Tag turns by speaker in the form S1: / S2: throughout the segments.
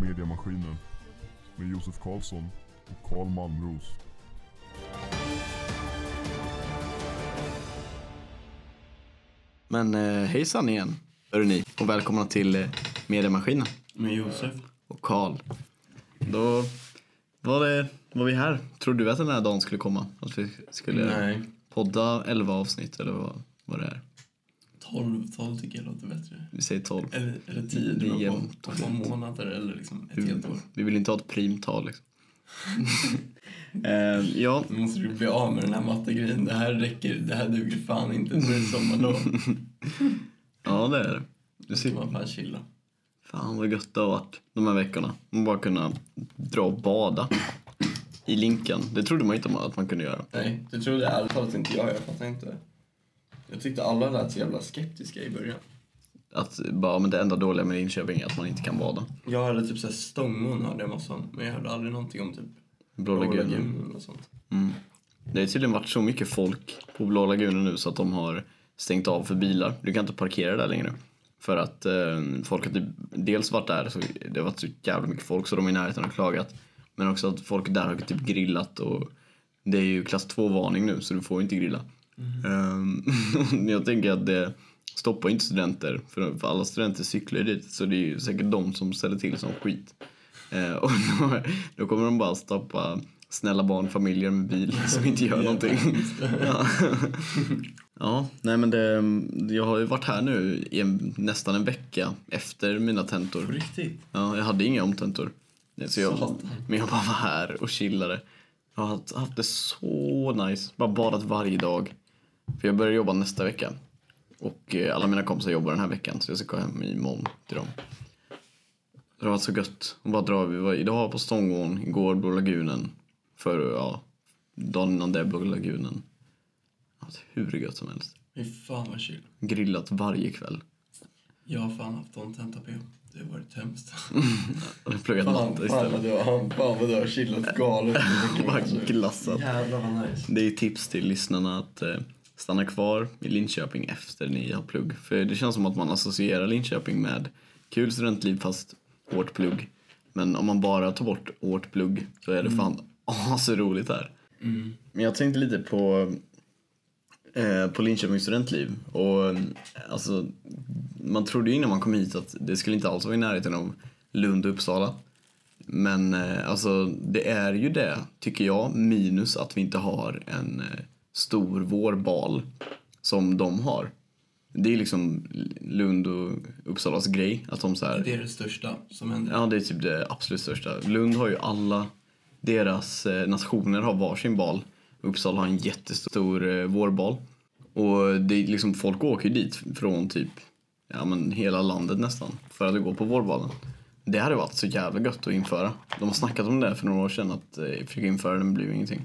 S1: Mediamaskinen med Josef Karlsson och Karl Malmros.
S2: Men eh, hejsan igen, hörru ni. Och välkomna till eh, Mediamaskinen
S3: Med Josef.
S2: och Karl. Då var, det, var vi här. Trodde du att den här dagen skulle komma? Att vi skulle
S3: Nej.
S2: podda 11 avsnitt eller vad, vad det är?
S3: 12, 12 tycker jag låter bättre.
S2: Vi säger 12.
S3: Eller, eller 10, det
S2: Nio,
S3: beror på.
S2: tolv.
S3: Två månader eller liksom ett helt år.
S2: Vi vill inte ha ett primtal liksom. eh, ja,
S3: Nu måste du bli av med den här mattegrejen. Det här räcker, det här duger fan inte. Nu är det sommarlov.
S2: Mm. ja det är det.
S3: Du ska man fan chilla.
S2: Fan vad gött det har varit de här veckorna. Man bara kunna dra och bada i Linkan. Det trodde man inte att man kunde göra.
S3: Nej, det trodde jag ärligt talat inte jag. Jag fattar inte. Jag tyckte alla lät så jävla skeptiska i början.
S2: Att bara, men det enda dåliga med Linköping är att man inte kan bada.
S3: Jag hörde typ såhär Stångån hörde jag massa om. Men jag hörde aldrig någonting om typ
S2: Blå
S3: Blå
S2: lagunen.
S3: Lagunen och sånt.
S2: Det har tydligen varit så mycket folk på Blå lagunen nu så att de har stängt av för bilar. Du kan inte parkera där längre. För att eh, folk har typ dels varit där, så det har varit så jävla mycket folk så de är i närheten har klagat. Men också att folk där har typ grillat och det är ju klass 2-varning nu så du får ju inte grilla. Eh, jag tänker att det stoppar ju inte studenter för, för alla studenter cyklar ju dit så det är ju säkert de som ställer till som skit. Eh, och då, då kommer de bara stoppa snälla barnfamiljer med bil som inte gör någonting. ja. ja, nej men det, jag har ju varit här nu i en, nästan en vecka efter mina
S3: På
S2: tentor.
S3: riktigt?
S2: Ja, jag hade inga omtentor. Nej, Så jag,
S3: Satan.
S2: men jag bara var här och chillade. Jag har haft, haft det så nice. Bara badat varje dag. För jag börjar jobba nästa vecka. Och eh, alla mina kompisar jobbar den här veckan så jag ska gå hem imorgon till dem. Det har varit så gött. Och bara dra. Vi var idag på Stångån, igår Blå lagunen. För, ja, dagen innan det Blå lagunen. Alltså, hur gött som helst.
S3: Fy fan vad chill.
S2: Grillat varje kväll.
S3: Jag har fan haft en tenta på. Det har varit hemskt.
S2: Och pluggat
S3: Fan,
S2: matte
S3: fan, vad
S2: istället.
S3: du har, fan vad du har chillat galet.
S2: Bara glassat.
S3: Jävlar vad nice.
S2: Det är tips till lyssnarna att eh, stanna kvar i Linköping efter ni har plugg. För det känns som att man associerar Linköping med kul studentliv fast hårt plugg. Men om man bara tar bort hårt plugg så är det fan asroligt här. Men jag tänkte lite på, eh, på Linköpings studentliv. Och eh, alltså, man trodde ju innan man kom hit att det skulle inte alls vara i närheten av Lund och Uppsala. Men eh, alltså, det är ju det, tycker jag, minus att vi inte har en eh, stor vårbal som de har. Det är liksom Lund och Uppsalas grej. Att de så här,
S3: Det är det största som händer.
S2: Ja, det är typ det absolut största. Lund har ju alla, deras eh, nationer har varsin bal. Uppsala har en jättestor eh, vårbal. Och det är liksom, folk åker ju dit från typ, ja men hela landet nästan, för att gå på vårbalen. Det hade varit så jävla gött att införa. De har snackat om det för några år sedan, att eh, försöka införa det, men det blev ingenting.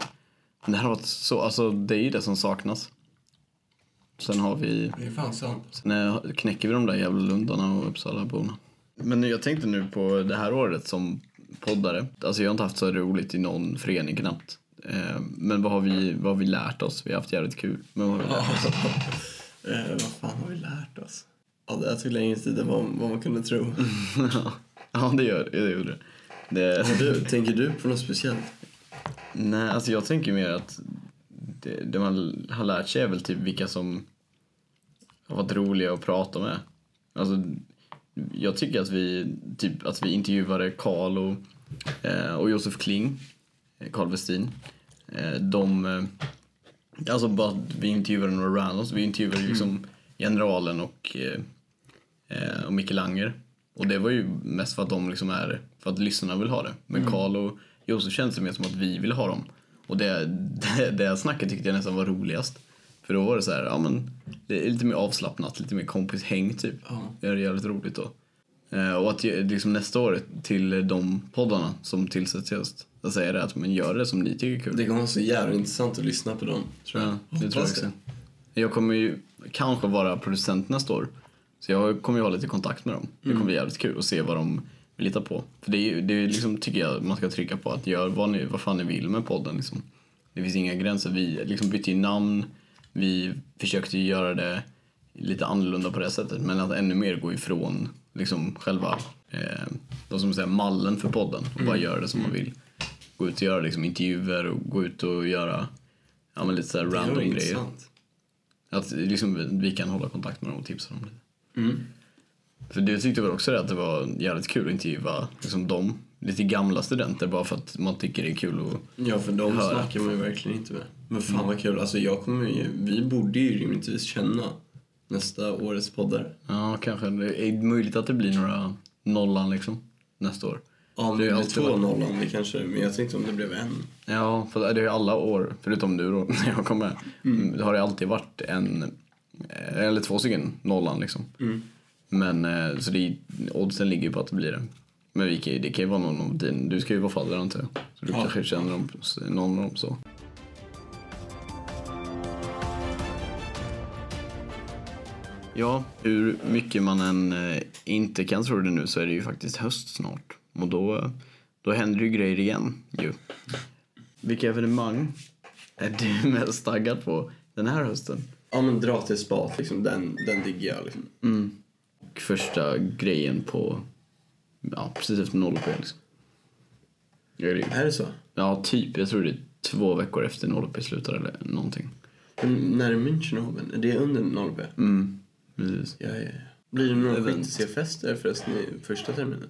S2: Men det hade varit så, alltså det är ju det som saknas. Sen har vi
S3: Det är fan sant.
S2: när knäcker vi de där jävla lundarna och Uppsalaborna. Men nu- jag tänkte nu på det här året som poddare. Alltså jag har inte haft så roligt i någon förening knappt. Eh, Men vad har, vi, vad har vi lärt oss? Vi har haft jävligt kul. Men vad har vi lärt oss?
S3: Eh, vad fan har vi lärt oss? Ja, det här tog längre tid än vad, vad man kunde tro.
S2: ja, det gör det. Gjorde. det.
S3: Har du, tänker du på något speciellt?
S2: Nej, alltså jag tänker mer att det, det man har lärt sig är väl typ vilka som har varit roliga att prata med. Alltså, jag tycker att vi, typ, att vi intervjuade Karl och, eh, och Josef Kling, eh, Karl Westin. Eh, de, eh, alltså bara att vi intervjuade några randoms. Vi intervjuade liksom generalen och, eh, eh, och Micke Langer. Och det var ju mest för att de liksom är, för att lyssnarna vill ha det. Men Karl och Josef kändes det mer som att vi ville ha dem. Och det, det, det snacket tyckte jag nästan var roligast. För då var det så här, ja men det är lite mer avslappnat, lite mer kompishäng typ.
S3: Ja.
S2: Det är jävligt roligt då. Eh, Och att ju- liksom nästa år till de poddarna som tillsätts i höst. Jag säger det att men gör det som ni tycker är kul.
S3: Det kommer vara så jävligt intressant att lyssna på dem, tror jag.
S2: ja, det tror jag
S3: Hoppas
S2: också. Jag kommer ju kanske vara producent nästa år. Så jag kommer ju ha lite kontakt med dem. Det
S3: Mm.
S2: kommer bli jävligt kul att se vad de vill hitta på. För det är ju det är liksom, tycker jag man ska trycka på att gör vad, ni, vad fan ni vill med podden liksom. Det finns inga gränser. Vi liksom bytte ju namn. Vi försökte ju göra det lite annorlunda på det sättet. Men att ännu mer gå ifrån liksom själva eh, vad ska man säga, mallen för podden och
S3: Mm.
S2: bara göra det som man vill. Gå ut och göra liksom, intervjuer och gå ut och göra ja, men lite så här
S3: Det är
S2: random grejer.
S3: intressant.
S2: Att liksom, vi kan hålla kontakt med dem och tipsa dem lite. För du tyckte väl också det, att det var jävligt kul att intervjua liksom, dem, lite gamla studenter bara för att man tycker det är kul att
S3: Ja, för de
S2: Höra.
S3: snackar man ju verkligen inte med. Men fan vad kul. Alltså jag kommer ju, vi borde ju rimligtvis känna nästa årets poddare.
S2: Ja, kanske. Det är möjligt att det blir några nollan liksom nästa år.
S3: Ja,
S2: Det
S3: nu
S2: är
S3: är det
S2: alltid
S3: två
S2: varit-
S3: nollan det kanske, men jag tänkte om det blev en.
S2: Ja, för det är ju alla år, förutom nu då när jag kom med, det har det alltid varit en eh, eller två stycken nollan liksom. Men eh, så det är, oddsen ligger ju på att det blir det. Men vi kan, ju- det kan ju vara någon av din, du ska ju vara fadder antar jag. Så du
S3: Ja.
S2: kanske känner dem, någon av dem så. Ja, hur mycket man än eh, inte kan tro det nu så är det ju faktiskt höst snart. Och då, då händer ju grejer igen ju. Vilka evenemang är du mest taggad på den här hösten?
S3: Ja, men dra till spat liksom. Den, den diggar jag liksom.
S2: Och första grejen på, ja precis efter Nollop liksom. Ja, det är-
S3: Är det så?
S2: Ja, typ. Jag tror det är två veckor efter Nollop slutar eller någonting.
S3: Men när är Münchenhoven? Är det under 0B?
S2: Mm, precis.
S3: Ja, ja, ja. Blir det några
S2: Event.
S3: skitsefester förresten i första terminen?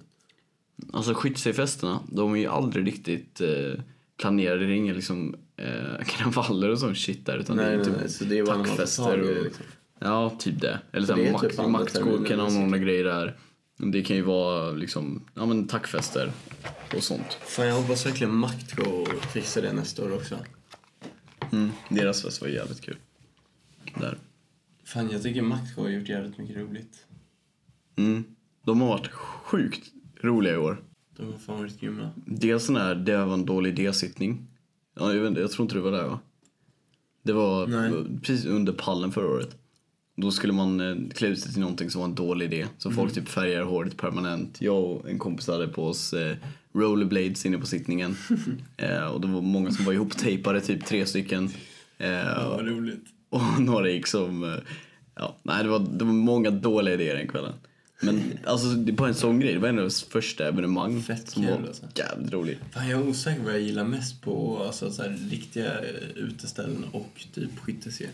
S2: Alltså skyttefesterna, de är ju aldrig riktigt eh, planerade. Det är inga liksom eh, kravaller och sån shit där. Utan det
S3: Nej,
S2: är
S3: nej,
S2: typ
S3: nej. Så det är bara när man får tag
S2: tackfester
S3: i det
S2: och...
S3: liksom.
S2: Ja, typ det. Eller
S3: det
S2: såhär
S3: är
S2: makt,
S3: typ andra
S2: maktskål
S3: terminen
S2: kan ha
S3: med
S2: några grejer där. Det kan ju vara liksom, ja men tackfester och sånt.
S3: Fan, jag hoppas verkligen makt går och fixar det nästa år också.
S2: Mm. Deras fest var jävligt kul. Där.
S3: Fan, jag tycker makt har gjort jävligt mycket roligt.
S2: Mm. De har varit sjukt roliga i år.
S3: De har fan varit grymma.
S2: Dels den här, det var en dålig idésittning. Ja, jag, vet, inte, jag tror inte du var där va? Det var
S3: Nej.
S2: precis under pallen förra året. Då skulle man eh, klä ut sig till någonting som var en dålig idé. Så
S3: Mm.
S2: folk typ färgar håret permanent. Jag och en kompis hade på oss eh, rollerblades inne på sittningen. eh, och det var många som var ihoptejpade, typ tre stycken. Eh,
S3: Ja, vad roligt.
S2: och några gick som... eh, Ja, nej, det var, det var många dåliga idéer den kvällen. Men alltså, det var en sån grej. Det var en av deras första evenemang.
S3: Fett
S2: som
S3: kul,
S2: var
S3: alltså.
S2: jävligt rolig.
S3: Fan, jag är osäker vad jag gillar mest på alltså, så här, riktiga eh, uteställen och typ skyttescen.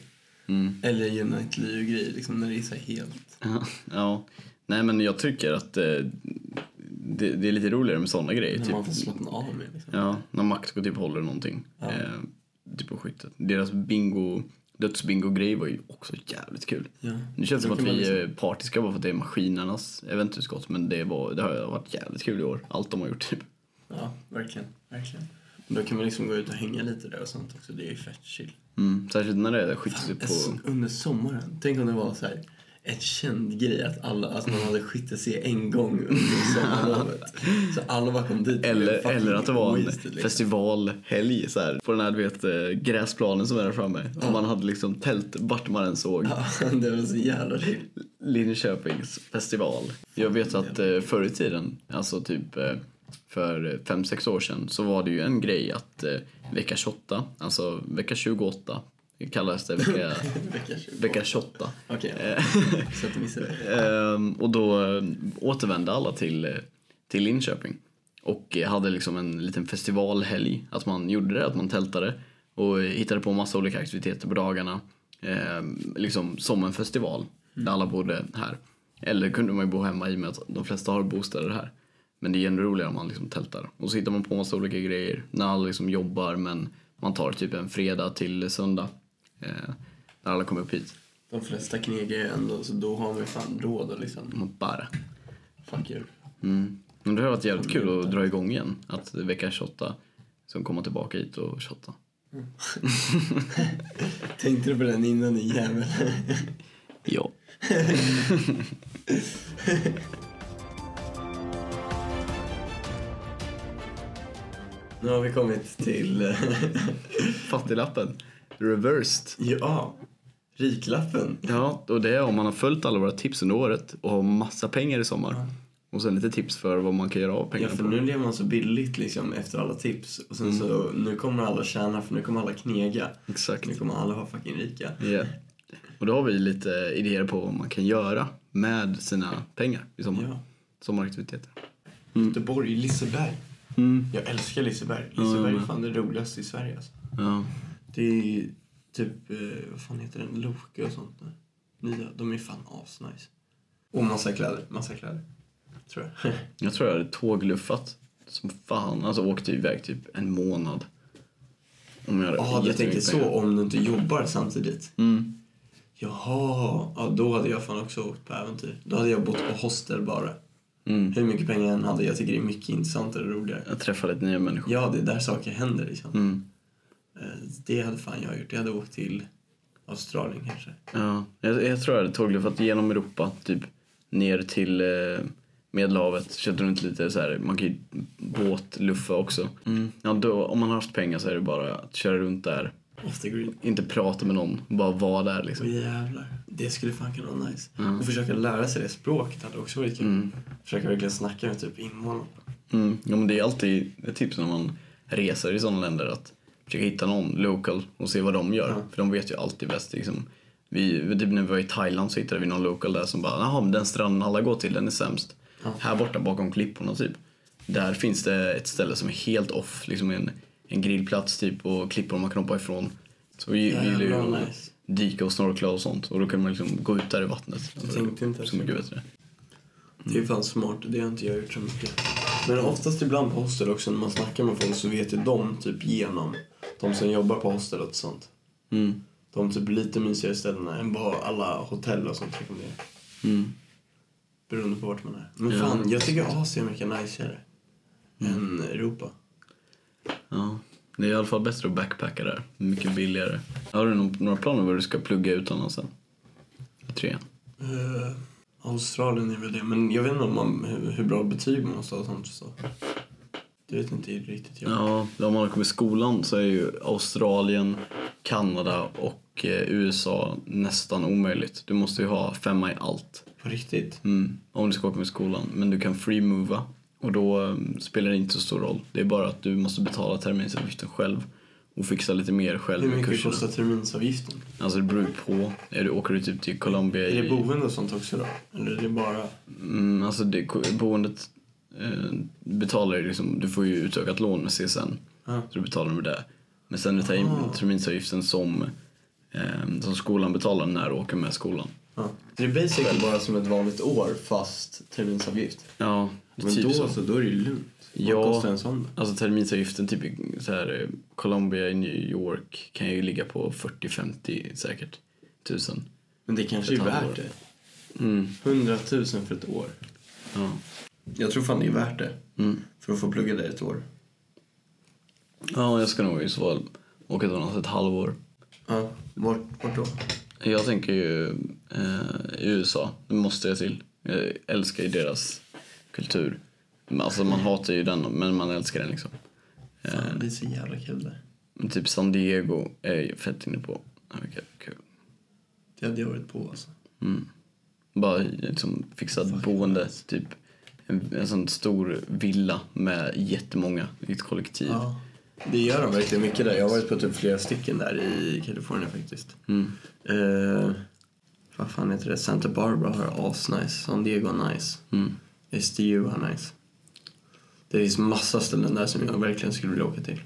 S2: Mm.
S3: Eller Unite-grejer, liksom när det är så här helt...
S2: Ja, ja. Nej, men jag tycker att eh, det, det är lite roligare med såna grejer.
S3: När
S2: typ,
S3: man får slappna av med liksom.
S2: ja, när Maxko typ håller någonting. Eh, typ på skyttet. Deras bingo, dödsbingo-grej var ju också jävligt kul.
S3: Ja.
S2: Nu känns det som
S3: Då
S2: att
S3: kan man
S2: vi
S3: liksom-
S2: är partiska bara för att det är maskinernas eventutskott. Men det, var, det har varit jävligt kul i år. Allt de har gjort typ.
S3: Ja, verkligen. verkligen. Men då kan man liksom gå ut och hänga lite där och sånt också. Det är ju fett chill.
S2: Mm, särskilt när det är skytte på...
S3: Alltså, Under sommaren, tänk om det var så här ett känd grej att alla, alltså man hade skitit sig en gång under sommarlovet. så alla bara kom dit. och blev
S2: Eller,
S3: fucking
S2: eller att det var en
S3: wasted, liksom.
S2: festivalhelg så här, på den här du vet, eh, gräsplanen som är där framme. Och man hade liksom tält vart man än såg.
S3: Ja, det var så jävla chill.
S2: Linköpings festival. Jag vet att eh, förr i tiden, alltså typ eh, för 5-6 år sedan, så var det ju en grej att eh, vecka 28, alltså vecka 28, kallas det vecka,
S3: Vecka 20.
S2: vecka 28.
S3: Okej, så att du missade det.
S2: Ehm, och då eh, återvände alla till, eh, till Linköping och eh, hade liksom en liten festivalhelg. Att man gjorde det, att man tältade och eh, hittade på massa olika aktiviteter på dagarna. Ehm, liksom som en festival där alla bodde här. Eller kunde man ju bo hemma i och med att de flesta har bostäder här. Men det är ju ännu roligare om man liksom tältar. Och så hittar man på massa olika grejer när alla liksom jobbar men man tar typ en fredag till söndag eh, när alla kommer upp hit.
S3: De flesta knegar ju ändå, så då har man ju fan råd och liksom,
S2: Man bara
S3: fuck you.
S2: Mm. Men det har varit jävligt kul att dra igång igen. Att vecka 28 som komma tillbaka hit och 28.
S3: Tänkte du på den innan din jävel?
S2: Ja.
S3: Nu har vi kommit till, eh,
S2: Fattiglappen. Reversed.
S3: ja, riklappen.
S2: Ja, och det är om man har följt alla våra tips under året och har massa pengar i sommar. Och sen lite tips för vad man kan göra av
S3: Ja,
S2: pengarna
S3: för
S2: på.
S3: nu lever man så billigt liksom efter alla tips. Och sen så, nu kommer alla tjäna för nu kommer alla knega.
S2: Exakt.
S3: Nu kommer alla vara fucking rika.
S2: Ja. Och då har vi lite idéer på vad man kan göra med sina pengar i sommar.
S3: Ja.
S2: Sommaraktiviteter.
S3: Mm. Göteborg, Liseberg. Jag älskar Liseberg. Liseberg är fan det roligaste i Sverige. Alltså.
S2: Ja.
S3: Det är typ, eh, vad fan heter den, Loka och sånt där. Nya, de är fan asnice. Och massa kläder, massa kläder. Tror jag.
S2: Jag tror jag hade tågluffat som fan. Alltså åkte iväg typ en månad. Om jag hade
S3: Ja, du tänker
S2: jättemycket
S3: så
S2: pengar.
S3: om du inte jobbar samtidigt.
S2: Mm.
S3: Jaha, ja, då hade jag fan också åkt på äventyr. Då hade jag bott på hostel bara.
S2: Mm.
S3: Hur mycket pengar jag än hade, jag tycker det är mycket intressantare och roligare.
S2: Jag träffade lite nya människor.
S3: Ja, det är där saker händer liksom.
S2: Mm.
S3: Eh, Det hade fan jag gjort. Jag hade åkt till Australien kanske.
S2: Ja. Jag, jag tror jag hade tågluffat genom Europa, typ ner till eh, Medelhavet, kört runt lite så här. Man kan ju båtluffa också.
S3: Mm.
S2: Ja, då, om man har haft pengar så är det bara att köra runt där.
S3: Off the grid.
S2: Inte prata med någon, bara vara där
S3: Åh
S2: liksom.
S3: jävlar. Det skulle fan kunna vara nice.
S2: Mm.
S3: Och försöka lära sig det språket hade också varit kul. Försöka verkligen snacka med typ invånarna.
S2: Mm. Ja, men det är alltid ett tips när man reser i sådana länder att försöka hitta någon local och se vad de gör. För de vet ju alltid bäst. Liksom. Vi, typ när vi var i Thailand så hittade vi någon local där som bara “Jaha, men den stranden alla går till, den är sämst”. Här borta bakom klipporna typ. Där finns det ett ställe som är helt off, liksom en, en grillplats typ och klippor man kan hoppa ifrån. Så vi, vi gillar ju
S3: Jävlar,
S2: att
S3: nice.
S2: dyka och snorkla och sånt och då kan man liksom gå ut där i vattnet. Alltså,
S3: tänkte inte
S2: så
S3: ens
S2: mycket bättre.
S3: Det är fan smart. Det har inte jag gjort så mycket. Men oftast ibland på hostel också när man snackar med folk så vet ju de typ genom de som jobbar på hostel och sånt.
S2: Mm.
S3: De typ lite mysigare ställena än vad alla hotell och sånt rekommenderar.
S2: Mm.
S3: Beroende på vart man är. Men
S2: Ja. Mm.
S3: fan, jag tycker Asien verkar najsigare än Europa.
S2: Ja, det är i alla fall bättre att backpacka där. Mycket billigare. Har du någon, några planer vad du ska plugga alltså? utomlands sen? I trean?
S3: Eh, Australien är väl det, men jag vet inte om man, hur, hur bra betyg man måste ha och sånt. Så. Det vet inte riktigt jag.
S2: Ja, om man kommer i skolan så är ju Australien, Kanada och eh, USA nästan omöjligt. Du måste ju ha femma i allt
S3: På riktigt.
S2: mm, om du ska åka med skolan. Men du kan free-mova och då eh, spelar det inte så stor roll. Det är bara att du måste betala terminsavgiften själv och fixa lite mer själv
S3: Hur
S2: med
S3: mycket
S2: kurserna.
S3: kostar terminsavgiften?
S2: Alltså det beror ju på. Är du, åker du typ till Colombia
S3: Är det
S2: i...
S3: boende och sånt också då? Eller är det bara...
S2: Mm, alltså det, boendet eh, betalar ju liksom, du får ju utökat lån med CSN.
S3: Ja. Ah.
S2: Så du betalar med det. Men sen du tar in terminsavgiften som, eh, som skolan betalar när du åker med skolan.
S3: Ja. Det är basic bara som ett vanligt år fast terminsavgift.
S2: Ja,
S3: Men
S2: typ
S3: då
S2: så.
S3: så, då är det ju lugnt. Vad
S2: Ja.
S3: kostar en sån då?
S2: Alltså terminsavgiften typ i så här, eh, Colombia i New York kan ju ligga på 40-50 säkert tusen.
S3: Men det kanske är
S2: Ett halvår.
S3: värt det.
S2: Mm,
S3: 100 000 för ett år.
S2: ja.
S3: Jag tror fan det är värt det.
S2: Mm.
S3: För att få plugga där ett år.
S2: ja, jag ska nog i så fall åka utomlands ett halvår.
S3: Ja. Vart, vart då?
S2: Jag tänker ju eh, i USA. Det måste jag till. Jag älskar ju deras kultur. Men Alltså man hatar ju den, men man älskar den liksom.
S3: Fan, Eh, det är så jävla kul där.
S2: Men Typ San Diego är jag fett inne på. Ja, Vilket kul.
S3: Det hade jag varit på alltså.
S2: Bara liksom fixa ett boende. Typ en, en sån stor villa med jättemånga i ett kollektiv.
S3: Ja. Det gör de verkligen mycket där. Jag har varit på typ flera stycken där i Kalifornien faktiskt.
S2: Mm.
S3: Eh, vad fan heter det? Santa Barbara har asnice. San Diego har nice.
S2: Mm.
S3: SDU har nice. Det finns massa ställen där som jag verkligen skulle vilja åka till.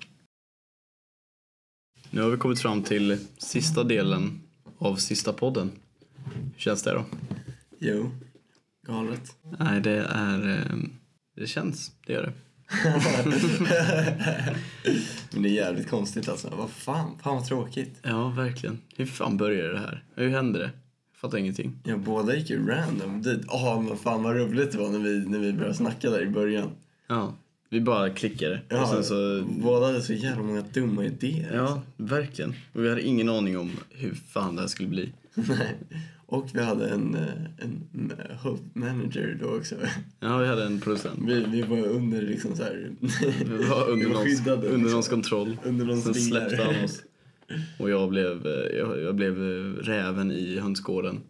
S2: Nu har vi kommit fram till sista delen av sista podden. Hur känns det då?
S3: Jo. Galet.
S2: Nej, det är... eh, Det känns, det gör det.
S3: Men det är jävligt konstigt alltså. Vad fan, fan vad tråkigt.
S2: Ja, verkligen. Hur fan började det här? Hur hände det? Jag fattar ingenting.
S3: Ja, båda gick ju random dit. Ja, men fan vad roligt det var när vi, när vi började snacka där i början.
S2: Ja, vi bara klickade. och sen så...
S3: Båda hade så jävla många dumma idéer.
S2: Ja, verkligen. Och vi hade ingen aning om hur fan det här skulle bli.
S3: Nej. Och vi hade en, eh, en eh, hope manager då också.
S2: Ja, vi hade en producent.
S3: Vi, vi var under liksom så här...
S2: Vi var under,
S3: vi var
S2: någons,
S3: skyddade.
S2: under någons
S3: liksom.
S2: kontroll.
S3: Under någons
S2: Sen
S3: vingar.
S2: släppte han oss. Och jag blev, eh, jag, jag blev eh, räven i hönsgården.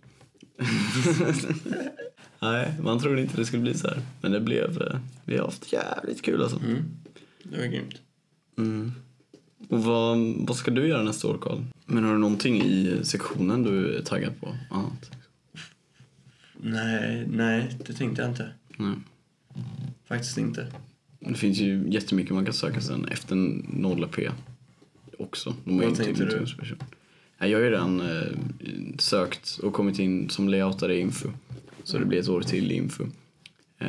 S2: Nej, man trodde inte det skulle bli så här. Men det blev... eh, Vi har haft jävligt kul alltså.
S3: Det var grymt.
S2: Mm. Och vad, vad ska du göra nästa år, Karl? Men har du någonting i sektionen du är taggad på? Annat?
S3: Nej, nej, det tänkte jag inte.
S2: Nej.
S3: Faktiskt inte.
S2: Det finns ju jättemycket man kan söka sen efter 0P också. De har
S3: Vad
S2: ju inte-
S3: tänkte
S2: inte
S3: du?
S2: inspiration. Nej, Jag har ju redan eh, sökt och kommit in som layoutare i info. Så det blir ett år till i info. Eh,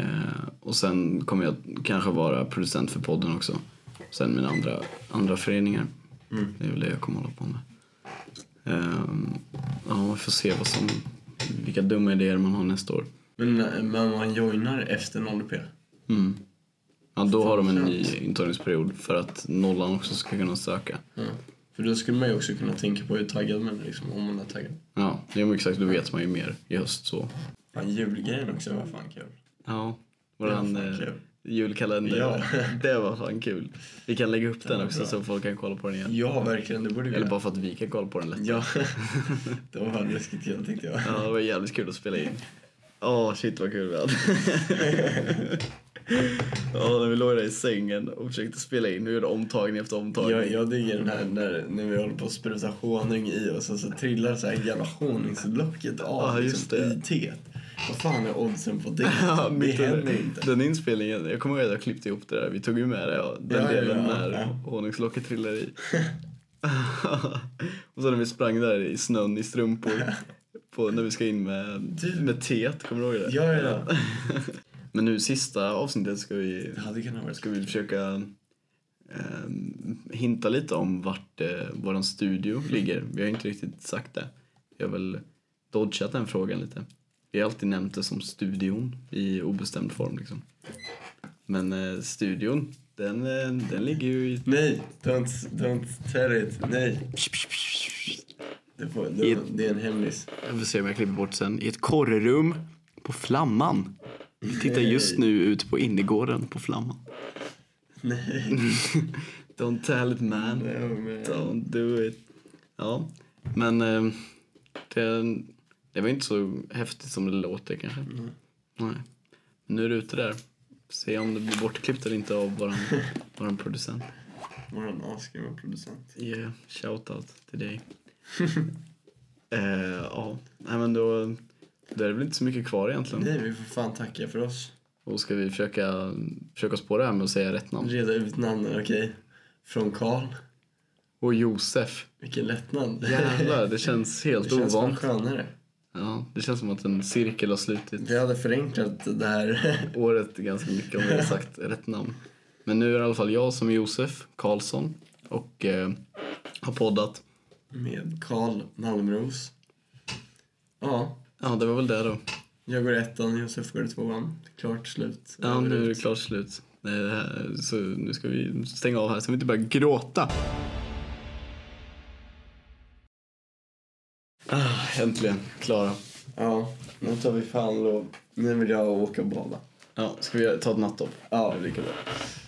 S2: och sen kommer jag kanske vara producent för podden också. Sen mina andra, andra föreningar.
S3: Mm.
S2: Det är väl det jag kommer hålla på med. Ehm, ja, vi får se vad som, vilka dumma idéer man har nästa år.
S3: Men, men man joinar efter 0P?
S2: Mm. Ja, då har de en
S3: Fan,
S2: ny intagningsperiod för att nollan också ska kunna söka.
S3: Ja. För då skulle man ju också kunna tänka på hur taggad man är liksom, om man är taggad.
S2: Ja, det är exakt. Då vet man ju mer i höst så.
S3: Fan, julgrejen också var fan kul.
S2: Ja, våran
S3: Det var fan
S2: eh,
S3: kul.
S2: julkalender.
S3: Ja.
S2: Det var fan kul. Vi kan lägga upp
S3: Den
S2: den
S3: var
S2: också
S3: bra.
S2: så folk kan kolla på den igen.
S3: Ja, verkligen. Det borde vi
S2: Eller
S3: göra.
S2: bara för att vi kan kolla på den lätt.
S3: Ja, det var fan läskigt kul tänkte jag.
S2: Ja, det var jävligt kul att spela in. Åh, shit vad kul vi hade. Ja, när vi låg där i sängen och försökte spela in. Vi gjorde omtagning efter omtagning.
S3: Jag, jag digger den här när, när vi håller på att spruta honung i oss och så trillar så här jävla honungslocket
S2: Ja,
S3: av liksom,
S2: just det.
S3: i teet. Vad fan är oddsen på det?
S2: Ja,
S3: det
S2: mitt
S3: händer
S2: under-
S3: inte.
S2: Den inspelningen, jag kommer ihåg att jag klippte ihop det där. Vi tog ju med det, ja, den
S3: Ja, ja,
S2: delen
S3: ja,
S2: när
S3: ja.
S2: honungslocket trillar i. och så när vi sprang där i snön i strumpor. På, när vi ska in med,
S3: Du-
S2: med teet, kommer du ihåg det?
S3: Typ. Ja, ja, ja.
S2: Men nu sista avsnittet ska vi,
S3: Det hade kunnat vara
S2: ska vi försöka eh, hinta lite om vart eh, vår studio ligger. Vi har inte riktigt sagt det. Vi har väl dodgat den frågan lite. Vi har alltid nämnt det som studion i obestämd form liksom. Men eh, studion, den, eh, den ligger ju i...
S3: Nej, don't, don't tell it. Nej. Det, får, det, det är en hemlis.
S2: Jag får se om jag klipper bort sen. I ett korrum på Flamman. Vi tittar just
S3: just
S2: nu ut på innergården på Flamman.
S3: Nej.
S2: Don't tell it man.
S3: Ja, men-
S2: Don't do it. Ja, men eh, det, det var inte så häftigt som det låter kanske.
S3: Mm.
S2: Nej. Nu är det ute där. Se om det blir bortklippt eller inte av våran, våran producent.
S3: Våran asgrymma producent.
S2: Yeah, shoutout till dig. eh, ja, nej men då, då är det väl inte så mycket kvar egentligen.
S3: Nej, vi får fan tacka för oss.
S2: Och ska vi försöka, försöka oss på det här med att säga rätt namn.
S3: Reda ut namnen, okej? Från Karl.
S2: Och Josef.
S3: Vilken lättnad.
S2: Jävlar, det känns helt
S3: det känns fan
S2: ovant.
S3: skönare.
S2: Ja, det känns som att en cirkel har slutits.
S3: Vi hade förenklat det här.
S2: året ganska mycket om jag hade sagt rätt namn. Men nu är det i alla fall jag som är Josef Karlsson och eh, har poddat.
S3: Med Karl Malmros. Ja,
S2: Ja, det var väl det då.
S3: jag går i ettan, Josef går i tvåan. Klart slut.
S2: Ja, nu är det klart slut. Nej, det här, så nu ska vi stänga av här så vi inte börjar gråta. Ah, äntligen klara.
S3: Ja, nu tar vi fan lov. Nu vill jag åka och bada.
S2: Ja, ska vi ta ett nattdopp?
S3: Ja.
S2: Det blir lika bra.